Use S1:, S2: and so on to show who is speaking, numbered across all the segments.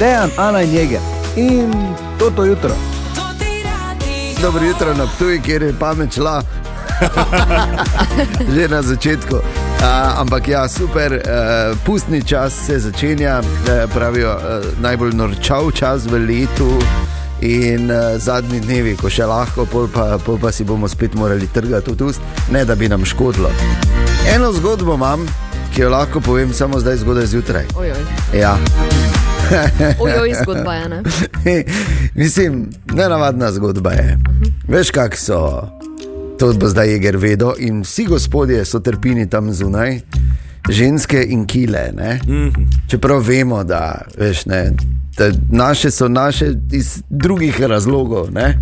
S1: Dejan, Ana in Jeger. In to to jutro.
S2: Dobro jutro na Ptuju, kjer je pamet šla. Že na začetku. Uh, ampak ja, super, uh, pustni čas se začenja, uh, pravijo uh, najbolj norčav čas v letu. In uh, zadnji dnevi, ko še lahko, pol pa, pol pa si bomo spet morali trgati v ust, ne da bi nam škodilo. Eno zgodbo imam, ki jo lahko povem samo zdaj, zgodaj zjutraj.
S3: Ojoj,
S2: Ja.
S3: ojoj, zgodba je ena.
S2: Mislim, nenavadna zgodba je. Veš, kak so. To bo zdaj jeger vedo in vsi gospodje so trpini tam zunaj, ženske in kile. Ne? Čeprav vemo, da, veš, ne, da naše so naše iz drugih razlogov. Ne?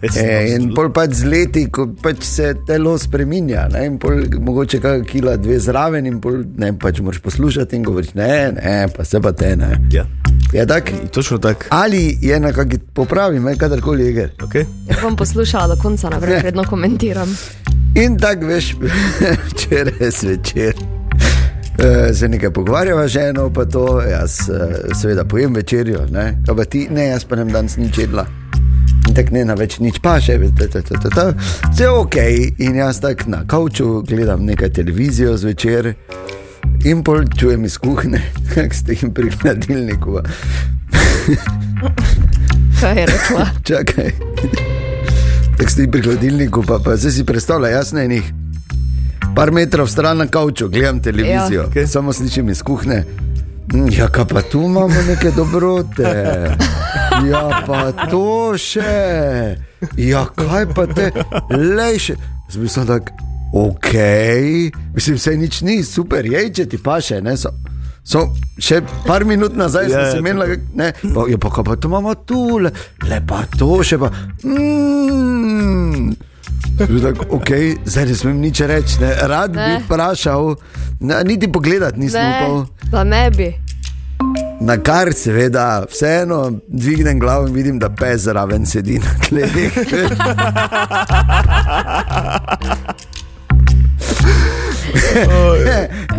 S2: E, in pol pač z leti, ko pač se telo spremenja, ne, in pol mogoče kakšna kila dve zraven, in pol ne, pač moraš poslušati in govoriš, ne, ne, pa se pa te ne.
S4: Ja.
S2: Je tako?
S4: Točno tako.
S2: Ali je na kaki popravi, me kadarkoli je gre.
S4: Okay.
S3: Jaz bom poslušala do konca, naprej, predno komentiram.
S2: In tako veš, včeraj zvečer. eh, Se nekaj pogovarjava, že eno pa to, jaz eh, seveda pojem večerjo, ne, kaj pa ti, ne, jaz pa nem danes nič jedla. In tako ne na več nič paše, vse ok. In jaz tako na kavču gledam nekaj televizijo zvečer in pol čujem iz kuhne, kako ste jim pri hladilniku.
S3: Kaj je rekla?
S2: Čakaj. Tako si pri hladilniku, pa, pa zdaj si predstavlja, jasno je njih. Par metrov stran na kavču, gledam televizijo, ja.
S3: Ja.
S2: okay. samo slišim iz kuhne. "Mm, Ja, kaj pa tu imamo neke dobrote. Ja, pa to še. Ja, kaj pa te, lej še. Zdaj mislim, da ok, mislim, vse nič ni, super, je, če ti paše, ne so. So, še par minut nazaj
S4: Ja,
S2: ja,
S4: ja,
S2: sem imel, ne, pa, je pa, kaj pa to imamo tu, le, le pa to še pa. Mm. Zdaj tako, Okay, zdaj ne smem nič reči, ne. rad
S3: Ne.
S2: bi vprašal, ne, niti pogledati nisem upal.
S3: Ne, da ne bi.
S2: Na kar seveda vseeno dvignem glavo in vidim, da pes zraven sedi na klevih.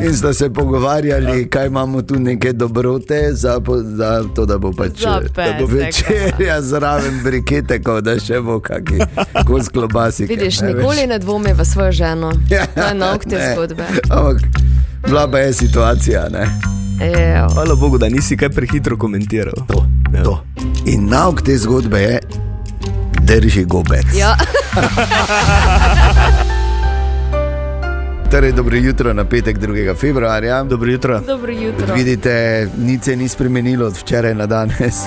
S2: in sta se pogovarjali, kaj imamo tu neke dobrote, za, po- za to, da bo pač
S3: Za
S2: da bo
S3: peseka.
S2: večerja zraven brikete, kot da še bo kakšen kos klobasik.
S3: Vidiš, nikoli ne dvomi v svojo ženo. To je nauk te zgodbe.
S2: Ja, Ampak bila pa je situacija, ne?
S3: Ejo.
S4: Hvala Bogu, da nisi kaj prehitro komentiral. To,
S2: To. In nauk te zgodbe je, drži gobec.
S3: Ja,
S2: Torej, dobro jutro na petek 2. februarja.
S4: Dobro jutro.
S3: dobro jutro.
S2: Vidite, nič se ni spremenilo od včeraj na danes.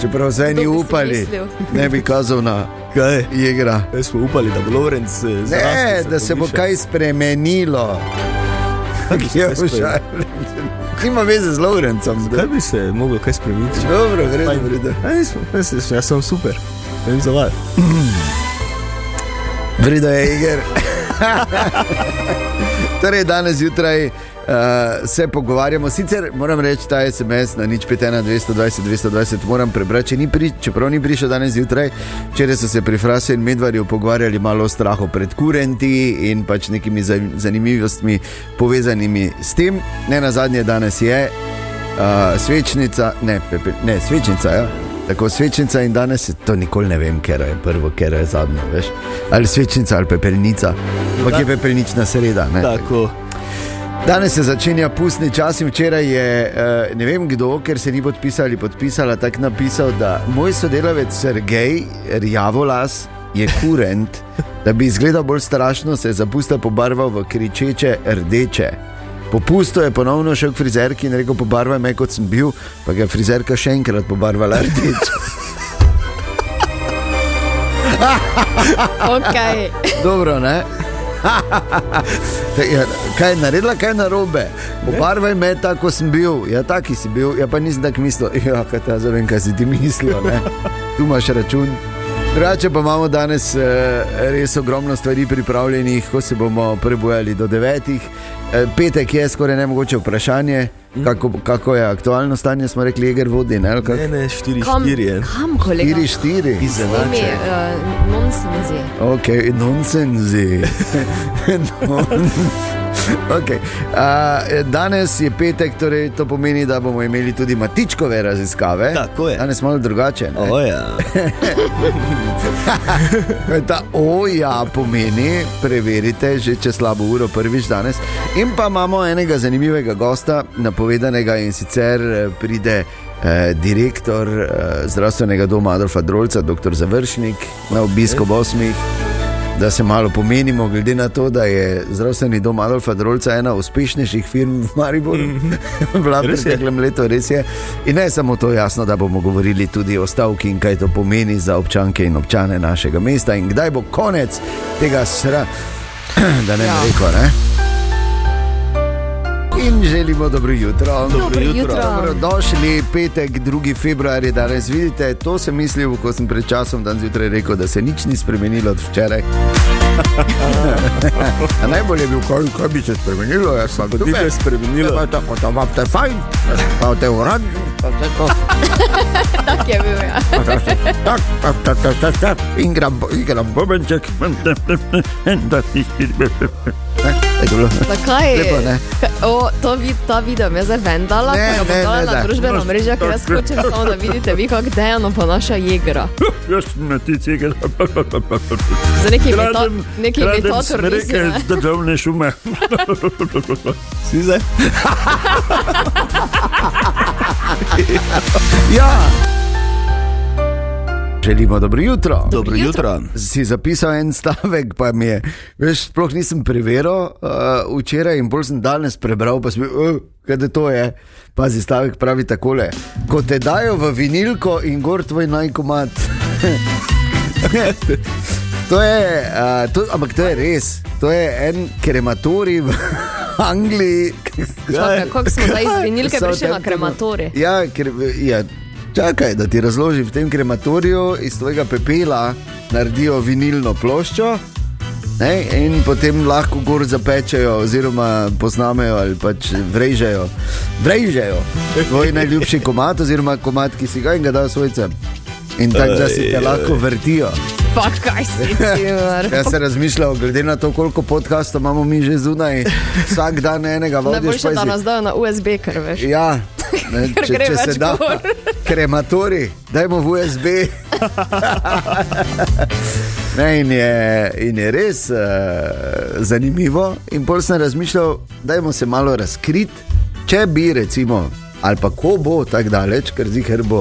S2: Čeprav vse
S3: Kdo
S2: ni
S3: bi si
S2: upali,
S3: mislil?
S2: ne bi kazal na
S4: Kaj?
S2: igra.
S4: Jaz smo upali, da bo Lorenz eh,
S2: Ne,
S4: zrastel,
S2: da se bo
S4: povišal.
S2: kaj spremenilo.
S4: Kaj bi se
S2: Je
S4: kaj spremenilo?
S2: užal. Nima veze z Lovrencem.
S4: Kaj bi se moglo kaj spremeniti?
S2: Dobro, gre, dobro, da.
S4: Ja, nismo, jaz, jaz, jaz sem super, ne vem za vas.
S2: Vrido je iger. torej, danes zjutraj uh, se pogovarjamo, sicer moram reči, ta SMS na nič 5, 220, 220 moram prebrati, če ni pri, čeprav ni prišel danes zjutraj. Včeraj so se pri Frasu in Medvarju pogovarjali malo o strahu pred kurenti in pač nekimi za- zanimivostmi povezanimi s tem. Ne na zadnje danes je uh, svečnica, ne, pepe, ne svečnica. Ja. Tako svečnica in danes to nikoli ne vem, ker je prvo, ker je zadnjo. Veš. Ali svečnica ali pepelnica, ampak je pepelnična sreda. Ne,
S4: Tako,
S2: Danes se začenja pustni čas in včeraj je eh, ne vem kdo, ker se ni podpisal ali podpisala, tako napisal, da moj sodelavec Sergej Rjavolas je kurent, da bi izgledal bolj strašno, se je zapustil pobarval v kričeče rdeče. Popusto je ponovno šel k frizerki in rekel: Pobarvaj me kot sem bil, pa ga je frizerka še enkrat pobarvala rdeče.
S3: Okay.
S2: Dobro, ne? Te- ja, Kaj je naredila, kaj je narobe? Pobarvaj me tako, kot sem bil, ja, taki si bil, ja, pa nisem tako mislil. Ja, kaj te zavem, kaj si ti mislil, ne? tu imaš račun. Drugače pa imamo danes eh, res ogromno stvari pripravljenih, ko se bomo prebojali do devetih. Eh, petek je skoraj nemogoče vprašanje, kako, kako je aktualno stanje, smo rekli, jeger vodi, ne? ali kako?
S4: ne, ne, štiri,
S3: Kam,
S4: štiri je.
S3: kam kolega? eh,
S2: Štiri, štiri.
S3: Izenače.
S4: Izenače.
S3: Uh, nonsenzi.
S2: Ok, nonsenzi. Non- Okay. Uh, danes je petek, torej to pomeni, da bomo imeli tudi matičkove raziskave.
S4: Tako je.
S2: Danes malo drugače. ne?
S4: Oja.
S2: E, Ta oja pomeni, preverite že čez slabo uro, prvič danes. In pa imamo enega zanimivega gosta, napovedanega in sicer eh, pride eh, direktor eh, zdravstvenega doma Adolfa Drolca, dr. Završnik, na obisk ob osmih. Da se malo pomenimo, glede na to, da je zdravstveni dom Adolfa Drolca ena uspešnejših firm v Mariboru, v Latviji,
S4: Res je.
S2: preteklem letu, res je. In ne samo to, jasno, da bomo govorili tudi o stavki in kaj to pomeni za občanke in občane našega mesta in kdaj bo konec tega sra, da ne bi
S3: Ja.
S2: rekel. Ne? In želimo dobro jutro.
S3: Dobro jutro. jutro.
S2: Dobrodošli, petek, 2. februar je danes. Vidite, to sem mislil, ko sem pred časom danes zjutraj rekel, da se nič ni spremenilo od včeraj. A Najbolje je bil, kaj, kaj bi se spremenilo, jaz sem
S4: Kot bi se spremenilo.
S2: Tako da imate fajn, pa te urad.
S3: Tak je bil, ja.
S2: Ingram, igram bobenček. Ne, tako je bilo.
S3: Zakaj?
S2: Lepo, ne?
S3: Ka- O, to, vid, ta video me je zdaj vendala,
S2: Ne,
S3: ko ga bom
S2: ne,
S3: dala
S2: ne, ne.
S3: na družbeno mrežo, ker jaz hočem samo, da vidite vi, kako dejano ponaša jegra.
S5: Jaz sem na ti cigar.
S3: Za neki
S5: Kradem,
S3: meto- neki
S5: kradem
S3: metotor,
S5: smreke
S3: mislim.
S5: iz državne šume.
S4: Si zdaj?
S2: Ja. Želimo dobro jutro.
S4: Dobro jutro.
S2: Si zapisal en stavek, pa mi je, veš, sploh nisem preveril uh, včeraj in bolj sem danes prebral, pa sem bil, uh, kaj da to je. Pazi, stavek pravi takole. Ko te dajo v vinilko in gor tvoj najkomat. to je, uh, to, ampak to je res. To je en krematorij v Angliji.
S3: Čakaj, Kako smo zdaj iz vinilke
S2: Samo
S3: prišli na
S2: tem temo.
S3: krematori?
S2: Ja, ker, ja, čakaj, da ti razložim. V tem krematoriju iz tvojega pepela naredijo vinilno ploščo. Ne, in potem lahko gor zapečejo, oziroma poznamejo ali pač vrežejo. Vrežejo tvoj najljubši komat, oziroma komat, ki si ga in ga dajo svojcem. In tako da si te lahko vrtijo.
S3: Pa kaj si
S2: Ja.
S3: ti, mar?
S2: Jaz sem razmišljal, glede na to, koliko podkastov imamo mi že zunaj, vsak dan enega vodiš.
S3: Najboljše, da
S2: pajzi.
S3: nas dajo na USB, ker veš.
S2: Ja, ne,
S3: Ker
S2: če,
S3: gre
S2: če se
S3: več
S2: da,
S3: gor.
S2: krematori, dajmo v USB. ne, in, je, in je res uh, zanimivo. In bolj sem razmišljal, dajmo se malo razkriti, če bi recimo. Ali pa ko bo tako daleč, ker zihar bo,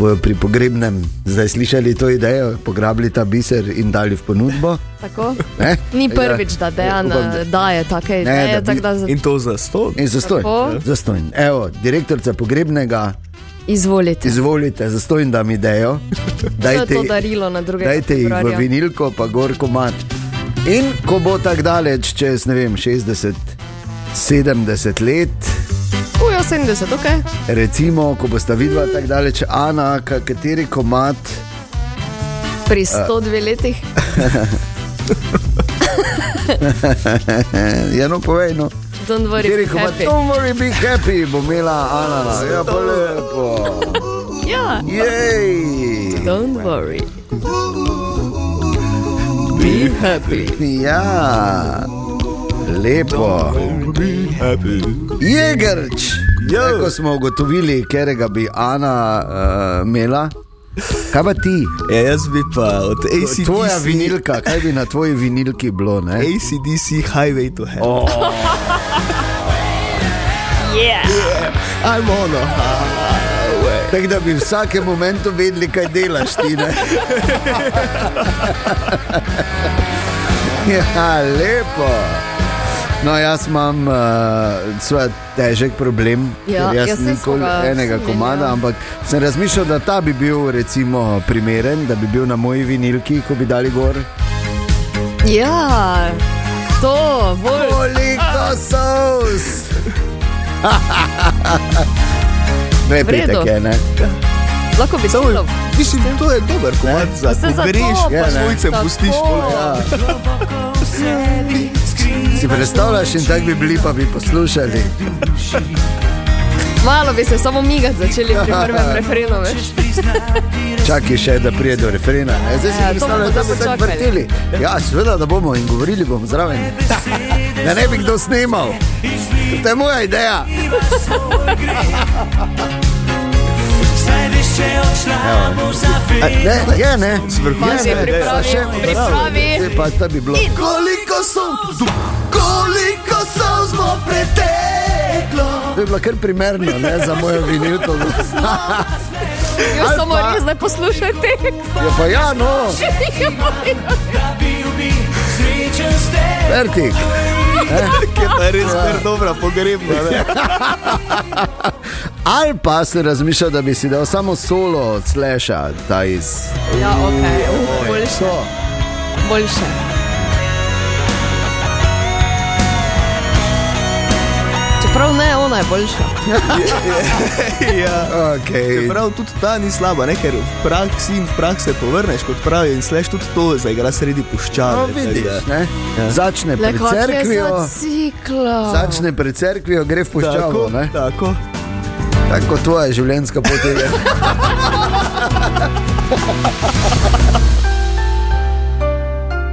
S2: bojo pri pogrebnem zdaj slišali to idejo, pograbili ta biser in dali v ponudbo.
S3: Tako?
S2: Ne? Ja.
S3: Ni prvič, da dejan
S2: Upam, da-
S3: daje take
S2: da
S3: ideje,
S2: bi-
S3: tako da z-
S4: In to za sto.
S2: In zastoj,
S3: Tako.
S2: zastoj. Evo, direktorica pogrebnega,
S3: izvolite.
S2: izvolite, zastoj, da mi dejo.
S3: To je
S2: Dajte,
S3: to darilo na drugega
S2: dajte jih v
S3: februarja.
S2: vinilko, pa gor komat. In ko bo tako daleč, čez ne vem, 60, 70 let,
S3: Ujo 70, ok.
S2: recimo, ko boste videla tako daleč, Ana, ka- kateri komat, Ja.
S3: Pri 102 letih.
S2: eh, eno povejno.
S3: Don't worry,
S2: Kateri
S3: be
S2: komat,
S3: happy.
S2: don't worry, be happy, bo imela Ana, ja pa lepo.
S3: Ja.
S2: Jej!
S3: Don't worry. Be happy.
S2: Ja, lepo. Jegrč,
S4: Jo.
S2: ko smo ugotovili, ker ga bi Ana uh, imela. Kaj pa ti?
S4: Ja, jaz bi pa od ACDC.
S2: Tvoja vinilka, kaj bi na tvoji vinilki bilo? Ne?
S4: ACDC Highway to Hell. Oh. yeah. I'm on a highway.
S2: Tako da bi v vsakem momentu vedeli, kaj delaš ti. ne? Ja, lepo. No, jaz imam uh, svoj težek problem,
S3: Ja,
S2: ker jaz,
S3: jaz
S2: jaz
S3: nisem
S2: nikoli
S3: ga
S2: enega
S3: omenila.
S2: komada, ampak sem razmišljal, da ta bi bil recimo primeren, da bi bil na moji vinilki, ko bi dali gor.
S3: Ja, to, bolj.
S2: Koliko sous! Ne,
S3: V redu.
S2: petek je, ne?
S3: Lahko bi
S4: Samo,
S3: celo.
S4: mislim, to je dober komad za
S3: Se za to,
S4: greš,
S3: pa
S4: ja,
S2: ne.
S4: svojce
S3: Tako.
S4: pustiš. pol, Ja.
S2: Si predstavljaš in tako bi bili, pa bi poslušali.
S3: Malo bi se samo migati začeli pri prvem referendumu. veš.
S2: Čakaj še, da prije do refrena. Ne? Zdaj si
S3: Ja, to
S2: predstavljaj,
S3: bomo
S2: da bomo tako
S3: počakali.
S2: vrteli. Ja, seveda, da bomo in govorili bomo zraven. Da ne bi kdo snimal. To je moja ideja. A, Ne, je, ne.
S3: Pa si
S2: Je, ne.
S3: pripravi,
S2: Še-
S3: pripravi.
S2: Zdaj pa ta bi bilo. Koliko so, koliko so smo preteklo. To je bilo kar primerno ne, za mojo vinilko.
S3: Jo
S2: Ali
S3: samo
S2: pa-
S3: res ne poslušajte.
S2: Ja, pa ja, no, vertik.
S4: Je pa res kar dobra pogrebna. ne?
S2: Ali pa si razmišljal, da bi si dal samo solo od Slasha, ta iz.
S3: Ja, ok, boljše. Boljše. Čeprav ne, ona je boljša.
S4: Ja.
S2: Okay.
S4: Prav tudi ta ni slaba, ne? ker v praksi in v praksi se povrneš, kot pravijo, in sleš tudi to, zaigra sredi puščave.
S2: No,
S4: tako
S2: vidiš,
S4: da-
S2: ne? Začne
S3: Le
S2: pri
S3: kot je za
S2: cerkvijo,
S3: ciklo.
S2: začne pri cerkvijo, gre v
S4: Tako,
S2: puščavo. ne?
S4: tako.
S2: Tako tvoja življenjska pot je.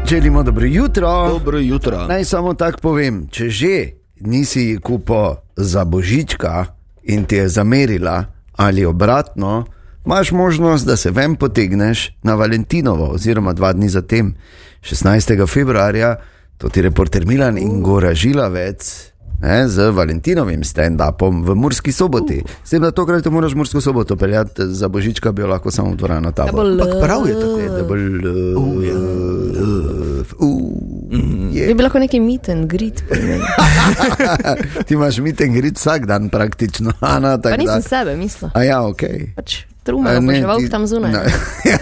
S2: Želimo dobro jutro.
S4: Dobro jutro.
S2: Naj samo tako povem, če že nisi ji kupo za božička in ti je zamerila, ali obratno, imaš možnost, da se ven potegneš na Valentinovo, oziroma dva dni zatem, 16. februarja, to ti reporter Milan in Gora Žilavec. Ne, z Valentinovim stand-upom v Murski soboti. S tem, da tokrat jo moraš v Mursko soboto peljati za božička, bi jo lahko samo v dvorano tam.
S4: Prav je tako.
S2: Da eh, bo ljubezen.
S3: Bi bil lahko neki miten, grid.
S2: Ti imaš miten grid vsak dan praktično. Ana,
S3: Pa
S2: tak, da.
S3: nisem sebe mislila.
S2: A ja, ok.
S3: Pač
S2: A
S3: trumno,
S2: ne,
S3: poživalk
S2: ti-
S3: tam zunaj.
S2: No.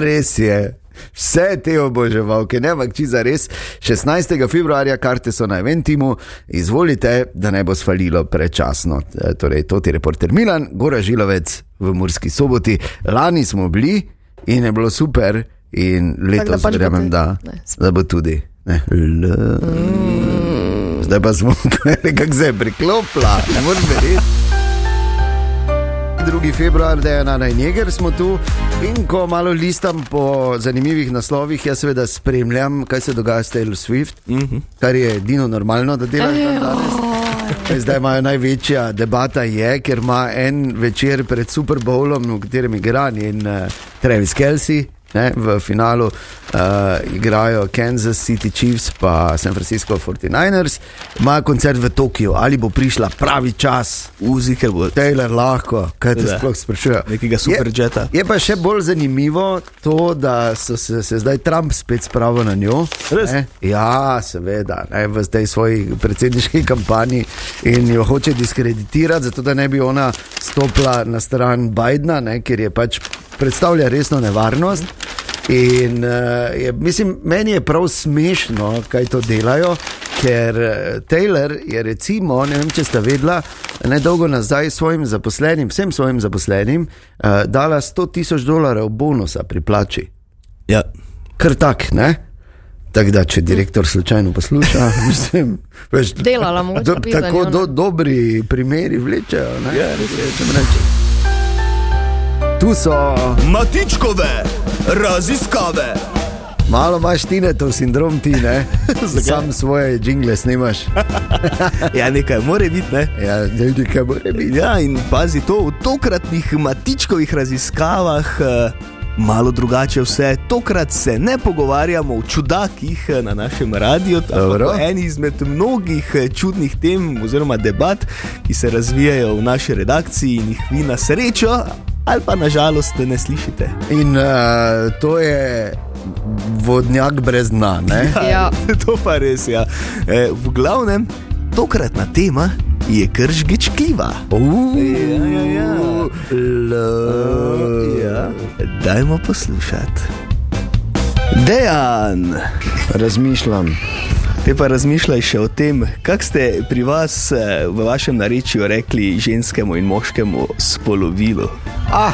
S2: res je. Vse te oboževalke, ne ampak če za res. 16. februarja karte so na Eventimu, izvolite, da ne bo svalilo prečasno. E, Torej, to ti reporter Milan, Gora Žilovec v Murski soboti. Lani smo bili in je bilo super, in letos
S3: pač bo
S2: verjamem,
S3: tudi.
S2: da,
S3: Ne.
S2: da bo tudi. Ne. L-
S3: Mm.
S2: Zdaj pa smo nekako se priklopila, ne morem verjeti. 2. februar, da je na najneger, smo tu in ko malo listam po zanimivih naslovih, jaz seveda spremljam, kaj se dogaja s Taylor Swift, mm -hmm. kar je edino normalno, da delaš dan danes. Zdaj imajo največja debata, je, ker ima en večer pred Super Bowlom, v katerem igra in uh, Travis Kelsey. Ne, v finalu uh, igrajo Kansas City Chiefs in San Francisco 49ers, imajo koncert v Tokiu, ali bo prišla pravi čas,
S4: Uzi, ker bo
S2: Taylor lahko, kaj te
S4: Da.
S2: sploh sprašuje.
S4: nekega superjeta.
S2: Je pa še bolj zanimivo to, da so se, se zdaj Trump spet spravil na njo.
S4: Res?
S2: ne. Ja, seveda, ne, v tej svoji predsedniški kampanji in jo hoče diskreditirati, zato da ne bi ona stopila na stran Bidna, ne, ker je pač predstavlja resno nevarnost. In, uh, je, mislim, meni je prav smešno, kaj to delajo, ker eh, Taylor je recimo, ne vem, če ste vedela, nedolgo nazaj svojim zaposlenim, vsem svojim zaposlenim, uh, dala 100 tisoč dolarjev bonusa pri plači
S4: Ja.
S2: kar tak, ne? Tako da, če direktor slučajno posluša, mislim, veš,
S3: Delala mogoče
S2: do,
S3: bi za
S2: tako
S3: njo, ne?
S2: do, dobri primeri vlečejo. Ne?
S4: Ja, res je.
S2: Hočem reči. Tu so,
S4: Matičkove raziskave.
S2: malo imaš tinetov sindrom, ti ne, sam svoje jingle snimaš.
S4: Ja, nekaj mora biti, ne?
S2: Ja, ljudi, kaj mora biti.
S4: Ja, in pazi to, v tokratnih matičkovih raziskavah eh, malo drugače vse. Tokrat se ne pogovarjamo o čudakih eh, na našem radiju, ampak
S2: Dobro.
S4: o eni izmed mnogih eh, čudnih tem oziroma debat, ki se razvijajo v naši redakciji in jih vi na srečo ali pa nažalost ne slišite.
S2: In uh, to je vodnjak brez dna, ne?
S3: Ja.
S4: to pa res je. Ja. E, v glavnem, tokratna tema je kržgič kliva.
S2: Uh,
S4: Ja, ja, ja. Ja. Dajmo poslušati. Dejan,
S2: Razmišljam.
S4: te pa razmišljaj še o tem, kako ste pri vas eh, v vašem narečju rekli ženskemu in moškemu spolovilu.
S2: Ah,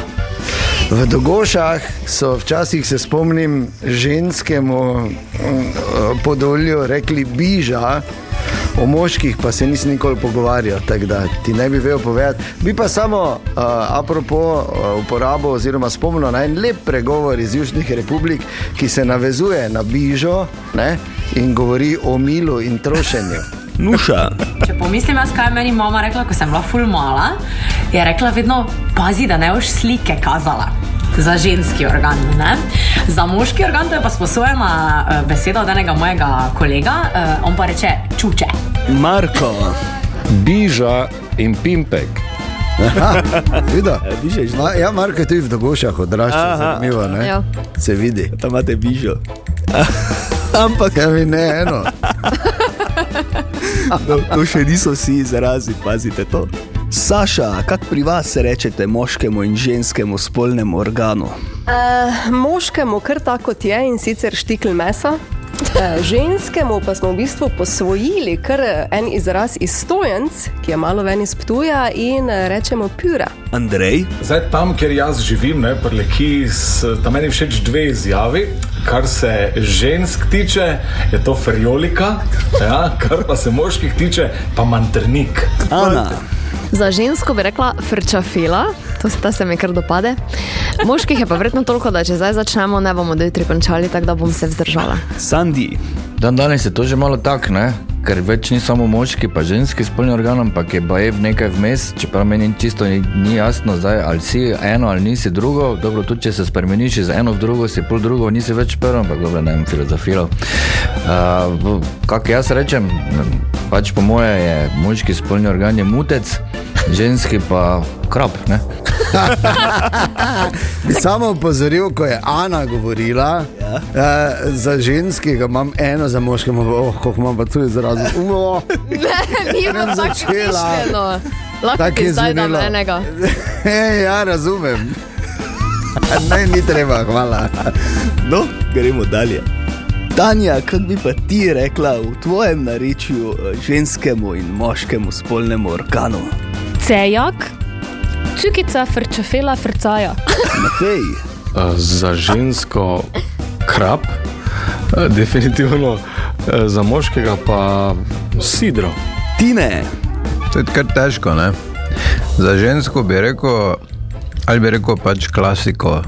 S2: v Dogošah so včasih, se spomnim, ženskemu mm, podolju rekli biža,
S6: o moških pa se nisem nikoli pogovarjal, tako da ti ne bi vedel povedati. Bi pa samo, uh, apropo uh, uporabo oziroma spomnil na en lep pregovor iz Južnih republik, ki se navezuje na bližo ne, in govori o milu in trošenju.
S4: Nuša,
S7: Če pomislim, jaz, kaj je meni mama rekla, ko sem bila ful mala, je rekla vedno, pazi, da ne boš slike kazala. Za ženski organ. Ne? Za moški organ to je pa sposojena eh, beseda od enega mojega kolega, eh, on pa reče čuče.
S4: Marko,
S8: Biža in pimpek.
S2: Vida?
S4: dižeš,
S2: Ma, ja, Marko je tudi v dogošah odraščal, zanimivo, ne?
S3: Ja.
S2: Se vidi.
S4: tam imate bižo. Ampak
S2: Ja, mi ne, eno.
S4: no, to še niso vsi izrazi, pazite to. Saša, kako pri vas rečete moškemu in ženskemu spolnemu organu?
S9: Uh, moškemu kar tako kot je in sicer štikl mesa. Eh, Ženskemu pa smo v bistvu posvojili kar en izraz iz stojenc, ki je malo ven iz Ptuja in eh, rečemo pjura.
S4: Andrej,
S10: Zdaj, tam, kjer jaz živim, ne, preleki, tam meni všeč dve izjavi. Kar se žensk tiče, je to ferjolika, ja, kar pa se moških tiče, pa mantrnik.
S4: Ana,
S3: Za žensko bi rekla frčafila, to sta se mi kar dopade. Moških je pa verjetno toliko, da če zdaj začnemo, ne bomo do jutri končali, tako da bom se vzdržala.
S4: Sandi,
S8: Dan danes je to že malo tak, ne? Ker več ni samo moški, pa ženski spolni organ, ampak je bajev nekaj vmes, čeprav meni čisto ni, ni jasno zdaj, ali si eno ali nisi drugo. Dobro, tudi če se spremeniš iz eno v drugo, si pol drugo, nisi več prvo, ampak dobro, ne vem, filozofiral. Uh, Kako jaz rečem, pač po moje je moški spolni organ je mutec, ženski pa krab, ne?
S2: Bi samo opozoril, ko je Ana govorila, ja. eh, za ženskega imam eno, za moškega imam, oh, kako imam pa tudi izrazil. Oh,
S3: Ne, ni bilo tako
S2: začela.
S3: mišljeno. Lahko
S2: Tako
S3: ti
S2: je
S3: zdaj dam
S2: zvenelo.
S3: enega.
S2: e, ja, razumem. Ne, ni treba, hvala.
S4: no, gremo dalje. Tanja, kako bi pa ti rekla v tvojem narečju eh, ženskemu in moškemu spolnemu organu?
S11: Cejak, cukica, frčafela, frcaja.
S4: Matej,
S8: Eh, Za žensko krab, eh, definitivno, eh, za moškega pa sidro.
S4: Tine,
S6: To je kar težko, ne? Za žensko bi rekel, ali bi rekel pač klasiko,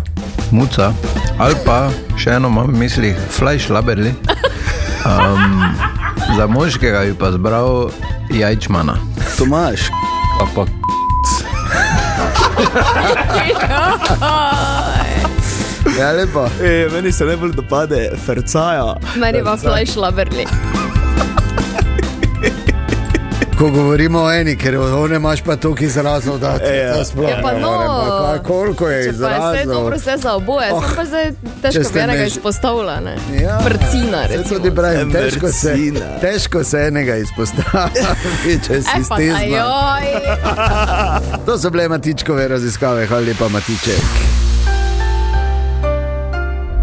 S6: muca, ali pa še eno imam v mislih, flajš laberli. Um, za moškega bi pa zbral jajčmana.
S4: Tomaš,
S8: Pa pa
S2: Ja, lepo.
S4: e, meni se najbolj dopade frcaja.
S3: Meni pa flajš laberli.
S2: Ko govorimo o eni, ker o ne imaš pa toliko izrazov, da ti
S4: Ja.
S2: to sploh
S3: Ja, pa
S2: ne
S3: no.
S2: morem. Pa kaj, Koliko je
S3: Če pa je vse
S2: izrazov?
S3: dobro, vse za oboje, oh, sem pa zdaj
S2: če
S3: težko
S2: ste
S3: bi enega
S2: me-
S3: izpostavila. ne.
S2: Ja,
S3: Prcina,
S2: saj
S3: recimo. E,
S2: tudi pravim, težko se,
S4: Mrcina.
S2: težko se enega izpostavi, če si
S3: E, pa
S2: stezna.
S3: najoj.
S2: To so bile Matičkove raziskave, hvala lepa, Matiček.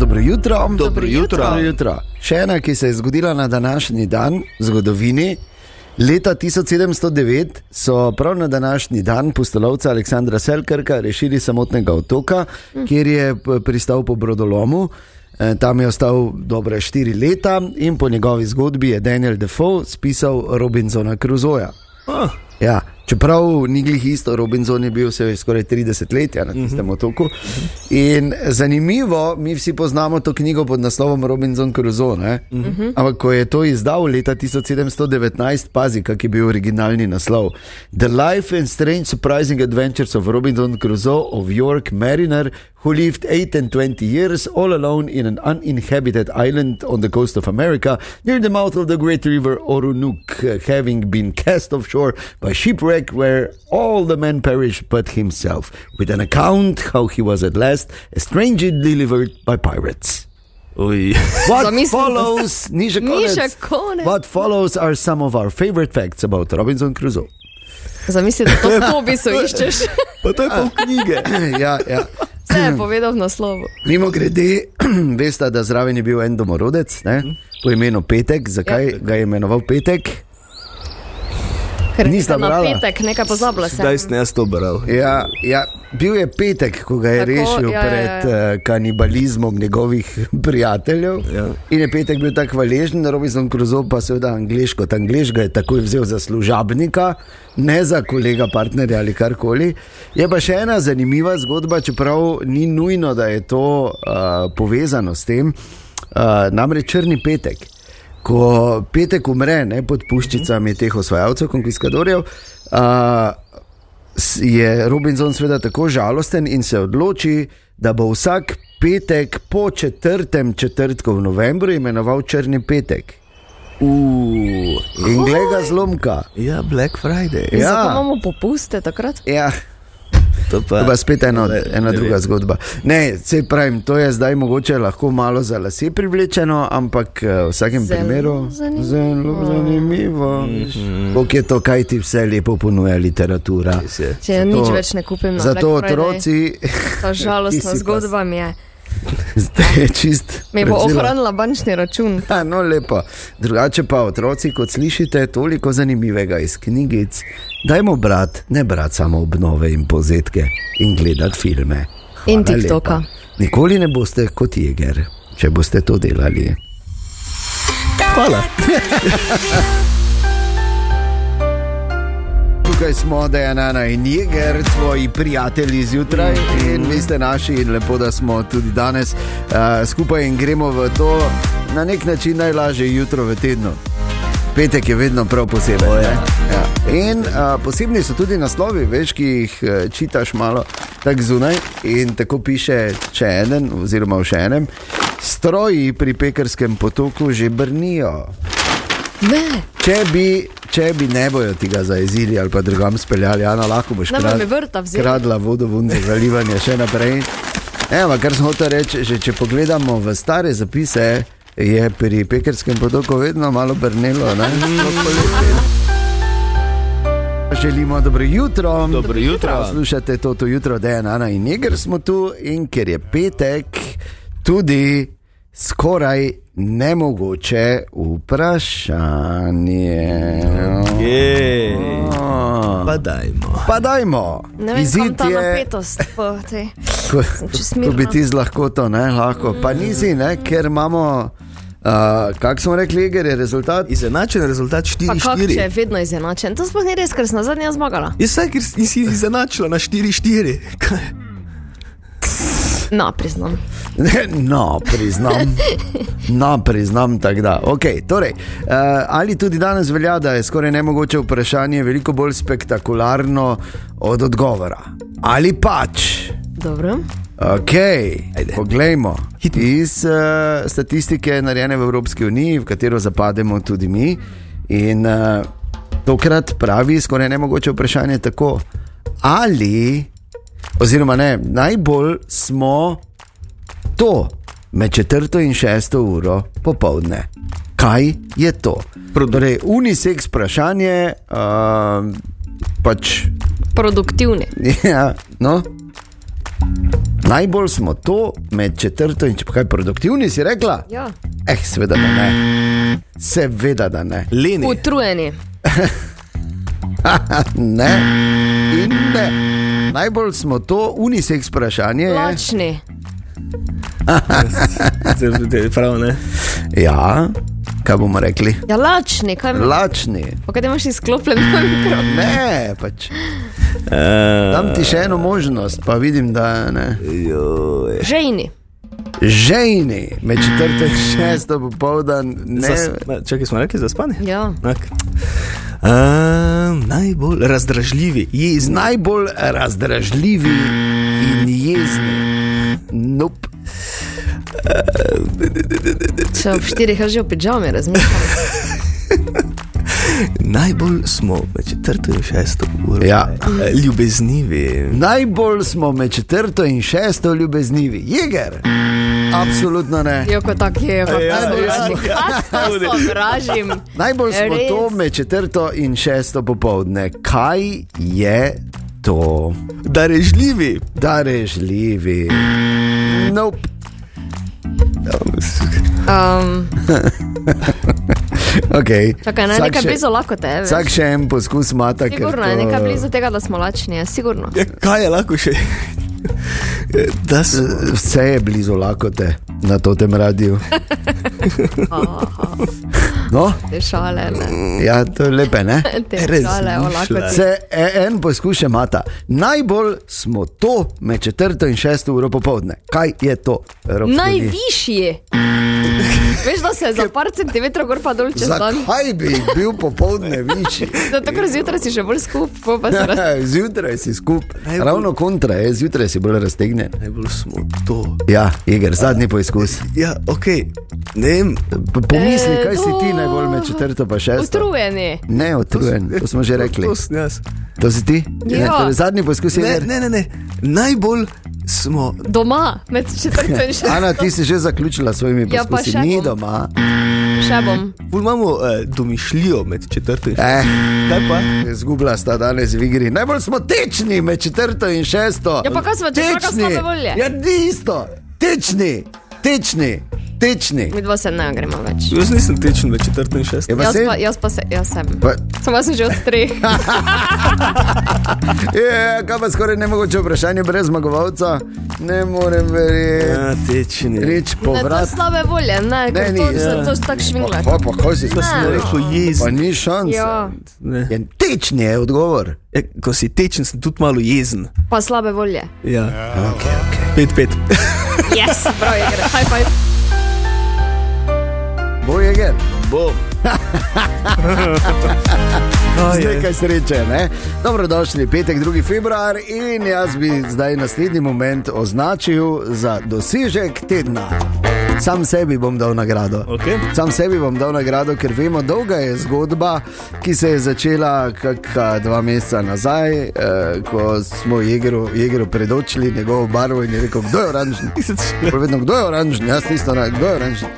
S2: Dobro jutro. Dobro jutro. Dobro jutro. Še ena, ki se je zgodila na današnji dan v zgodovini. Leta 1709 so prav na današnji dan pustolovca Aleksandra Selkrka rešili samotnega otoka, kjer je p- pristal po brodolomu. Eh, Tam je ostal dobre štiri leta in po njegovi zgodbi je Daniel Defoe spisal Robinsona Crusoja. Ja, čeprav ni glih isto, Robinson je bil vse skoraj 30 let ja, na tistem mm -hmm. otoku. In zanimivo, mi vsi poznamo to knjigo pod naslovom Robinson Crusoe. Mm -hmm. Ampak ko je to izdal leta 1719, pazi, kak je bil originalni naslov: The Life and Strange Surprising Adventures of Robinson Crusoe of York Mariner, who lived 8 and 20 years all alone in an uninhabited island on the coast of America, near the mouth of the great river Orunuk, uh, having been cast offshore by shipwreck where all the men perished but himself, with an account how he was at last estranged delivered by pirates.
S4: Uj.
S2: What
S3: Zamislim.
S2: follows, ni še
S3: Ni
S2: konec.
S3: še konec.
S2: What follows are some of our favorite facts about Robinson Crusoe.
S3: Zamisli, da to v opisu iščeš.
S4: Pa to je pol knjige.
S2: ja, ja.
S3: Vse je povedal v naslovu.
S2: Mimo grede, veste, da zraven je bil en domorodec ne? po imenu Petek. Zakaj ja. ga je imenoval Petek?
S3: Ker
S2: Nista
S3: ste na
S2: brala?
S3: petek, nekaj pozabila sem.
S2: sem jaz to bral. Ja, ja, bil je petek, ko ga je
S3: Tako,
S2: Tako, rešil
S3: ja,
S2: ja,
S3: ja,
S2: pred ja. Uh, kanibalizmom njegovih prijateljev. Ja. In je petek bil tako hvaležen, Robinson Crusoe pa seveda angliško. Ta angliš ga je takoj vzel za služabnika, ne za kolega, partnerja ali karkoli. Je pa še ena zanimiva zgodba, čeprav ni nujno, da je to uh, povezano s tem. Uh, namreč črni petek ko petek umre ne, pod puščicami teh osvajalcev, eh, konkviskadorjev, a, s- je Robinson seveda tako žalosten in se odloči, da bo vsak petek po četrtem četrtku v novembru imenoval Črni petek. Uuu, in gleda zlomka. Ja, Black Friday.
S3: Ja. Zato imamo popuste takrat.
S2: Ja. To pa, to pa spet ena, ena druga zgodba. Ne, se pravim, to je zdaj mogoče lahko malo za lase privlečeno, ampak eh, v vsakem
S3: Zelo
S2: primeru
S3: zanimivo.
S2: zelo zanimivo. Kako je to, kaj ti vse lepo ponuja literatura.
S3: Če ja
S2: Zato-
S3: nič več ne kupim na
S2: Zato
S3: Black Friday.
S2: otroci,
S3: Ta žalostna
S2: Ti si
S3: zgodba mi je.
S2: zdaj čist.
S3: Mi bo
S2: prevzela-
S3: ohranila bančni račun.
S2: Ja, no, lepo. Drugače pa otroci, kot slišite, toliko zanimivega iz knjigic. Dajmo brat, ne brat samo obnove in povzetke in gledati filme.
S3: In
S2: Hvala
S3: TikToka.
S2: lepa. Nikoli ne boste kot jeger, če boste to delali. Hvala. Tukaj smo, da je Nana in Jeger, tvoji prijatelji zjutraj in vi ste naši, in lepo, da smo tudi danes uh, skupaj in gremo v to na nek način najlažje jutro v tednu. Petek je vedno prav poseben. ne? Ja. In uh, posebni so tudi naslovi, veš, ki jih uh, čitaš malo tako zunaj. In tako piše še en, oziroma v še enem, stroji pri pekarskem potoku že brnijo.
S3: Ne,
S2: Če bi, če bi ne bojo tega zaezili ali pa drugam speljali, Ana, lahko boš
S3: Ne bo
S2: krad-
S3: mi vrta vzeli.
S2: kradla vodovun za zalivanje še naprej. Evo, kar sem hotel reči, že če pogledamo v stare zapise, je pri pekerskem potoku vedno malo brnelo. ne? Sploh poleti. Želimo dobro jutro. Dobro
S4: jutro.
S2: Slušate to, to jutro, da je Ana in Jeger smo tu in ker je petek, tudi skoraj nemogoče vprašanje. Oh. Pa dajmo. Pa dajmo.
S3: ne vem, kam
S2: Izid
S3: ta
S2: je,
S3: napetost. po tej-
S2: ko,
S3: čist
S2: ko
S3: mirna.
S2: bi ti z lahkoto, ne, lahko. Pa
S3: Mm.
S2: nisi, ne, ker imamo, uh, kako smo rekli, Jeger je rezultat. Izenačen rezultat
S3: Pa kako če je vedno izenačen? To sploh ni res, ker sem zadnja zmagala.
S4: Je vse, Ja, ker si- si izenačila na 4-4. Kaj?
S3: No, priznam.
S2: No, priznam. No, priznam, tako da. Okay, torej, uh, ali tudi danes velja, da je skoraj nemogoče vprašanje veliko bolj spektakularno od odgovora? Ali pač?
S3: Dobro.
S2: Ok, poglejmo. Iz uh, statistike, narejene v Evropski uniji, v katero zapademo tudi mi. In uh, tokrat pravi skoraj nemogoče vprašanje tako, ali, oziroma ne, najbolj smo to med četrto in šesto uro popovdne. Kaj je to? Torej, unisex vprašanje, uh, pač
S3: Produktivni.
S2: Ja, no. Najbolj smo to med četrto in če kaj produktivni, si rekla?
S3: Ja.
S2: Eh, seveda da ne. Seveda da ne. Leni.
S3: Utrujeni.
S2: ne. In ne. Najbolj smo to unisex vprašanje. je-
S3: Lačni.
S2: Prav, ne? Ja, kaj bomo rekli?
S3: Ja, lačni, kaj me-
S2: Lačni.
S3: Pa kaj imaš izklopljen mikrofon?
S2: Ne, pač. Dam ti še eno možnost, pa vidim, da ne.
S3: Žejni.
S2: Žejni, med četrto in šesto popoldan, ne.
S4: Zas, čakaj, smo rekli zaspani?
S3: Ja.
S4: Tak. Uh, najbolj razdražljivi, jezni.
S2: Najbolj razdražljivi in jezni. Nope.
S3: Če ob štirih je že v pižami, razmišljam.
S4: Najbolj smo med četrto in šesto uro.
S2: Ja.
S4: Eh, Ljubeznivi.
S2: Najbolj smo med četrto in šesto ljubeznivi. Jeger, absolutno ne.
S3: Joko tak je, joko
S2: Ja,
S3: tak
S2: ja,
S3: je. Kako se obražim?
S2: Najbolj smo
S3: Res.
S2: to med četrto in šesto popovdne. Kaj je to?
S4: Darežljivi.
S2: Darežljivi. Nope.
S3: Um,
S2: Okay.
S3: Čakaj, ne, nekaj blizu lakote, veš.
S2: Vsak še en poskus mata, ker
S3: Sigurno je
S2: to-
S3: nekaj blizu tega, da smo lačni, je sigurno.
S4: Ja, kaj je lahko še? Da se
S2: vse je blizu lakote na tem radiju. No?
S3: Te šale, ne.
S2: Ja, to je lepe, ne?
S3: Te Res šale o lakoti. mišljaj.
S2: Se e- en poskus še mata. Najbolj smo to med četrto in šesto uro popovdne. Kaj je to? Evropski uniji?
S3: Najvišji. Veš, da se je za par centimetrov gor pa dol čez dan.
S2: Zakaj bi bil popovdne višji?
S3: Zato, ker zjutraj si še bolj skup, pol pa se raz...
S2: Zjutraj si skup, ravno kontra je, zjutraj si bolj raztegnjen.
S4: Najbolj smo to.
S2: Ja, Igor, zadnji poizkus.
S4: Ja, ok, ne vem.
S2: Pomisli,
S3: E,
S2: kaj si ti najbolj med četrto pa šesto.
S3: Utrujeni.
S2: Ne, otrujen, to smo že rekli.
S4: To sem jaz.
S2: To si ti?
S3: Ja.
S2: Ne, torej zadnji poskus je
S4: Ne,
S2: Igor.
S4: ne, ne, ne. najbolj smo.
S3: Doma, med četrto in šesto.
S2: Ana, ti si že zaključila s svojimi
S3: Ja, pa
S2: poskusi,
S3: še
S2: ni
S3: bom.
S2: doma.
S3: Še bom.
S4: Ful Imamo eh, domišljijo med četrto in šesto.
S2: Eh,
S4: Kaj pa?
S2: Zgubila sta danes v igri. Najbolj smo tečni med četrto in šesto.
S3: Ja, pa kaj smo, če smo kar slabe volje?
S2: Ja, ni isto. Tečni, tečni, tečni.
S3: Mi dva se ne gremo več.
S4: Jaz nisem tečen med četrto in šesto.
S2: Ja, pa
S3: Jaz
S2: sej-
S3: pa, jaz pa se, jaz sem.
S2: pa,
S3: Samo jaz sem že od treh.
S2: je, kaj pa skoraj nemogoče vprašanje brez zmagovalca? Ne morem verjeti.
S4: Ja, tečen je.
S2: Reč
S3: Ne, to je
S2: povrat.
S3: slabe volje, ne, ker
S2: ni,
S3: to,
S2: ja.
S3: se- to je tako švingla.
S2: Pa, pa, kaj si?
S4: To sem
S3: Ne.
S4: rekel jezen.
S2: Ja. Pa ni šans.
S3: Ja,
S4: Ne.
S2: Ja, tečni je odgovor.
S4: Ja, ko si tečen, sem tudi malo jezen.
S3: pa slabe volje.
S4: Ja, ok, ok. Pet, pet.
S3: Yes, prav je, gre. High five.
S2: Boje je.
S4: Bom.
S2: Z nekaj sreče, ne? Dobrodošli, petek, 2. februar in jaz bi zdaj naslednji moment označil za dosežek tedna. Sam sebi bom dal nagrado.
S4: Ok.
S2: Sam sebi bom dal nagrado, ker vemo, dolga je zgodba, ki se je začela kakšna dva meseca nazaj, eh, ko smo Jegru, Jegru predočili njegovo barvo in je rekel, kdo je oranžen. Prav vedno, kdo je oranžen, jaz nisem oranžen, kdo je oranžen.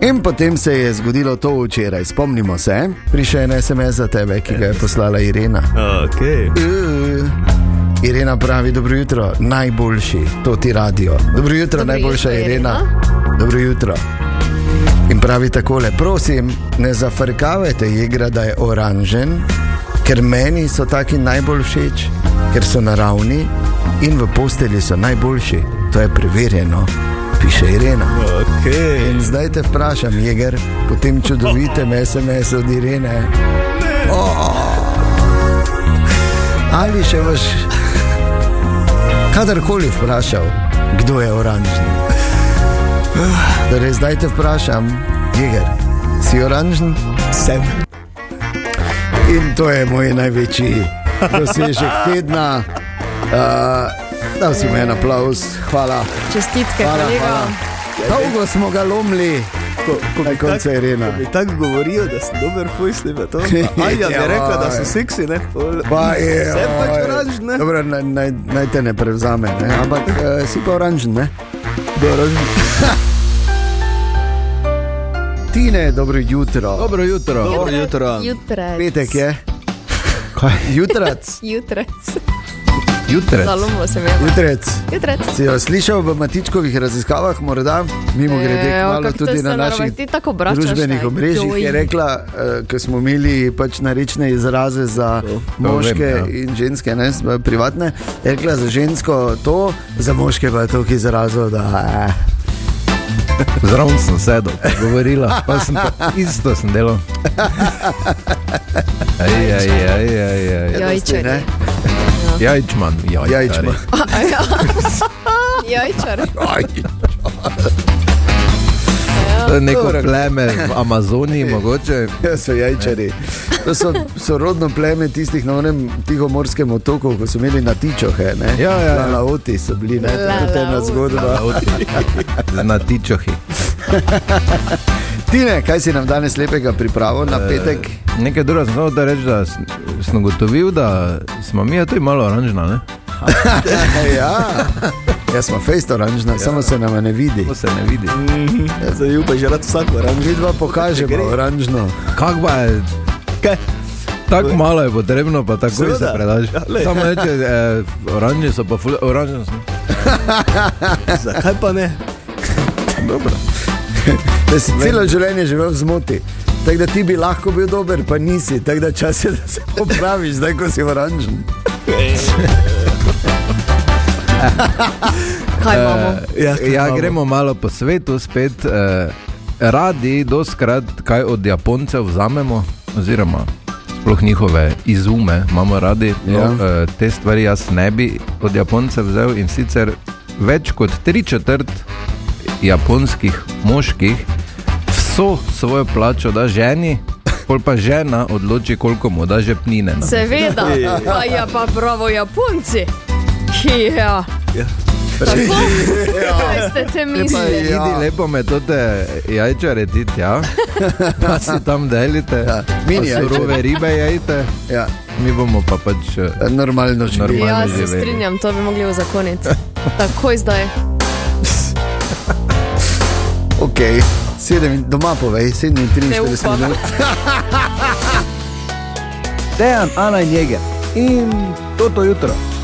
S2: In potem se je zgodilo to včeraj, spomnimo se, prišel je en SMS za tebe, ki ga je poslala Irena.
S4: Ok.
S2: Uh, Irena pravi, dobro jutro, najboljši, to ti radio. Dobro jutro,
S3: Dobro
S2: dobro najboljša
S3: jutro,
S2: jutro, Irena.
S3: Irena.
S2: Dobro jutro. In pravi takole, prosim, ne zafrkavajte jegra, da je oranžen, ker meni so taki najbolj všeč, ker so naravni in v postelji so najboljši. To je preverjeno, piše Irena.
S4: Ok.
S2: In zdaj te vprašam, jeger, po tem čudovitem SMS-u od Irene. O, Ali še boš kadarkoli vprašal, kdo je oranžni? Torej, zdaj te vprašam, jeger, si oranžen?
S4: Sem.
S2: In to je moj največji dosežek tedna. Uh, dal si mi en aplaus, hvala.
S3: Čestitke,
S2: hvala,
S3: kolega.
S2: hvala. Dolgo smo ga lomili, na koncu je Irena.
S4: Mi tako govorijo, da sem dober pojsli v to. A Anja mi je
S2: Ja,
S4: rekla, da
S2: vaj.
S4: so seksi, ne? Pol-
S2: Pa je,
S4: Sem pač
S2: oj.
S4: oranžen, ne?
S2: Dobro, naj, naj, naj te ne prevzame, ne? ampak uh, si pa oranžen. Ne? Tine, dobro jutro. Dobro.
S6: Dobro jutro.
S4: Dobro jutro.
S3: Jutrec.
S2: Petek je. Kaj? Jutrac.
S3: Jutrec.
S6: Jutre.
S3: Zalomilo se mi je.
S2: Jutrec.
S3: Jutrec.
S2: Si jo slišal v matičkovih raziskavah, morda mimo grede,
S3: Evo,
S2: malo
S3: E, kako to
S2: tudi
S3: se
S2: na
S3: narobe-
S2: naših
S3: Ti tako obračaš,
S2: družbenih
S3: ne,
S2: omrežjih,
S3: joj.
S2: je rekla, uh, ko smo imeli pač narečne izraze za moške
S6: vem, ja.
S2: in ženske, ne s- eh, privatne, je rekla za žensko to, za moške pa je toliko izrazov, da. Eh.
S6: Zraven sem sedel, govorila, pa sem pa isto sem delal. Ej, ej, ej, ej, ej.
S2: Dosti,
S3: Jajčar.
S2: ne?
S6: Jajčman, jajčari.
S2: Jajčman.
S3: Jajčar.
S6: To je neko
S2: Dobro.
S6: pleme v Amazoniji, mogoče.
S2: Ja, so jajčari. To so sorodno pleme tistih na onem tihomorskem otoku, ko so imeli na tičohe.
S6: Ja, ja, ja.
S2: Laoti so bili, ne, to je tudi ena
S3: Lalaoti.
S2: zgodba.
S6: Na tičohi.
S2: Tine, kaj si nam danes lepega pripravo na
S6: Eh.
S2: petek?
S6: Nekaj drugega sem znal, da rečem, da sem- sem ugotovil, da smo mi tudi malo oranžna. Ne?
S2: Ja, ja smo fejst oranžna, ja. samo se nam ne vidi.
S6: To se ne vidi.
S4: Zdaj ju pa že rad vsako oranžen.
S2: Vidva pokažemo oranžno.
S6: Kaj pa je?
S4: Kaj?
S6: Tako malo je potrebno, pa tako
S4: Seveda.
S6: se predaš.
S4: Ja, glej.
S6: Samo reče, eh, oranžni so pa ful, oranžni so.
S4: Zakaj pa ne?
S2: Da si celo življenje živel v zmoti. Tako da ti bi lahko bil dober, pa nisi. Tako da čas je, da se popraviš, zdaj ko si oranžen.
S3: Kaj imamo?
S6: Eh, ja, gremo malo po svetu spet. eh, Radi, doskrat kaj od Japoncev vzamemo, oziroma sploh njihove izume imamo radi. No,
S2: Ja.
S6: eh, Te stvari jaz ne bi od Japoncev vzel in sicer več kot tri četrt japonskih moških vso svojo plačo da ženi, pol pa žena odloči, koliko mu da žepnine. na
S3: Seveda, pa je pa pravo Japonci. Ja. Tako?
S2: Ja.
S3: Kaj ste te mislili?
S6: Ja. Idi lepo me to te jajčare ti tja, pa si tam delite. Ja.
S2: mini
S6: surove
S2: jajčare.
S6: ribe jajte.
S2: Ja.
S6: Mi bomo pa pač eh,
S2: normalno živeli.
S3: Ja,
S6: normalno
S3: se
S6: živeli.
S3: strinjam, to bi mogli uzakoniti. Takoj zdaj.
S2: Ok, sedem in doma povej, sedem in
S3: Ne upam.
S2: 43 minut.
S1: Dejan, Ana in Jeger in toto jutro.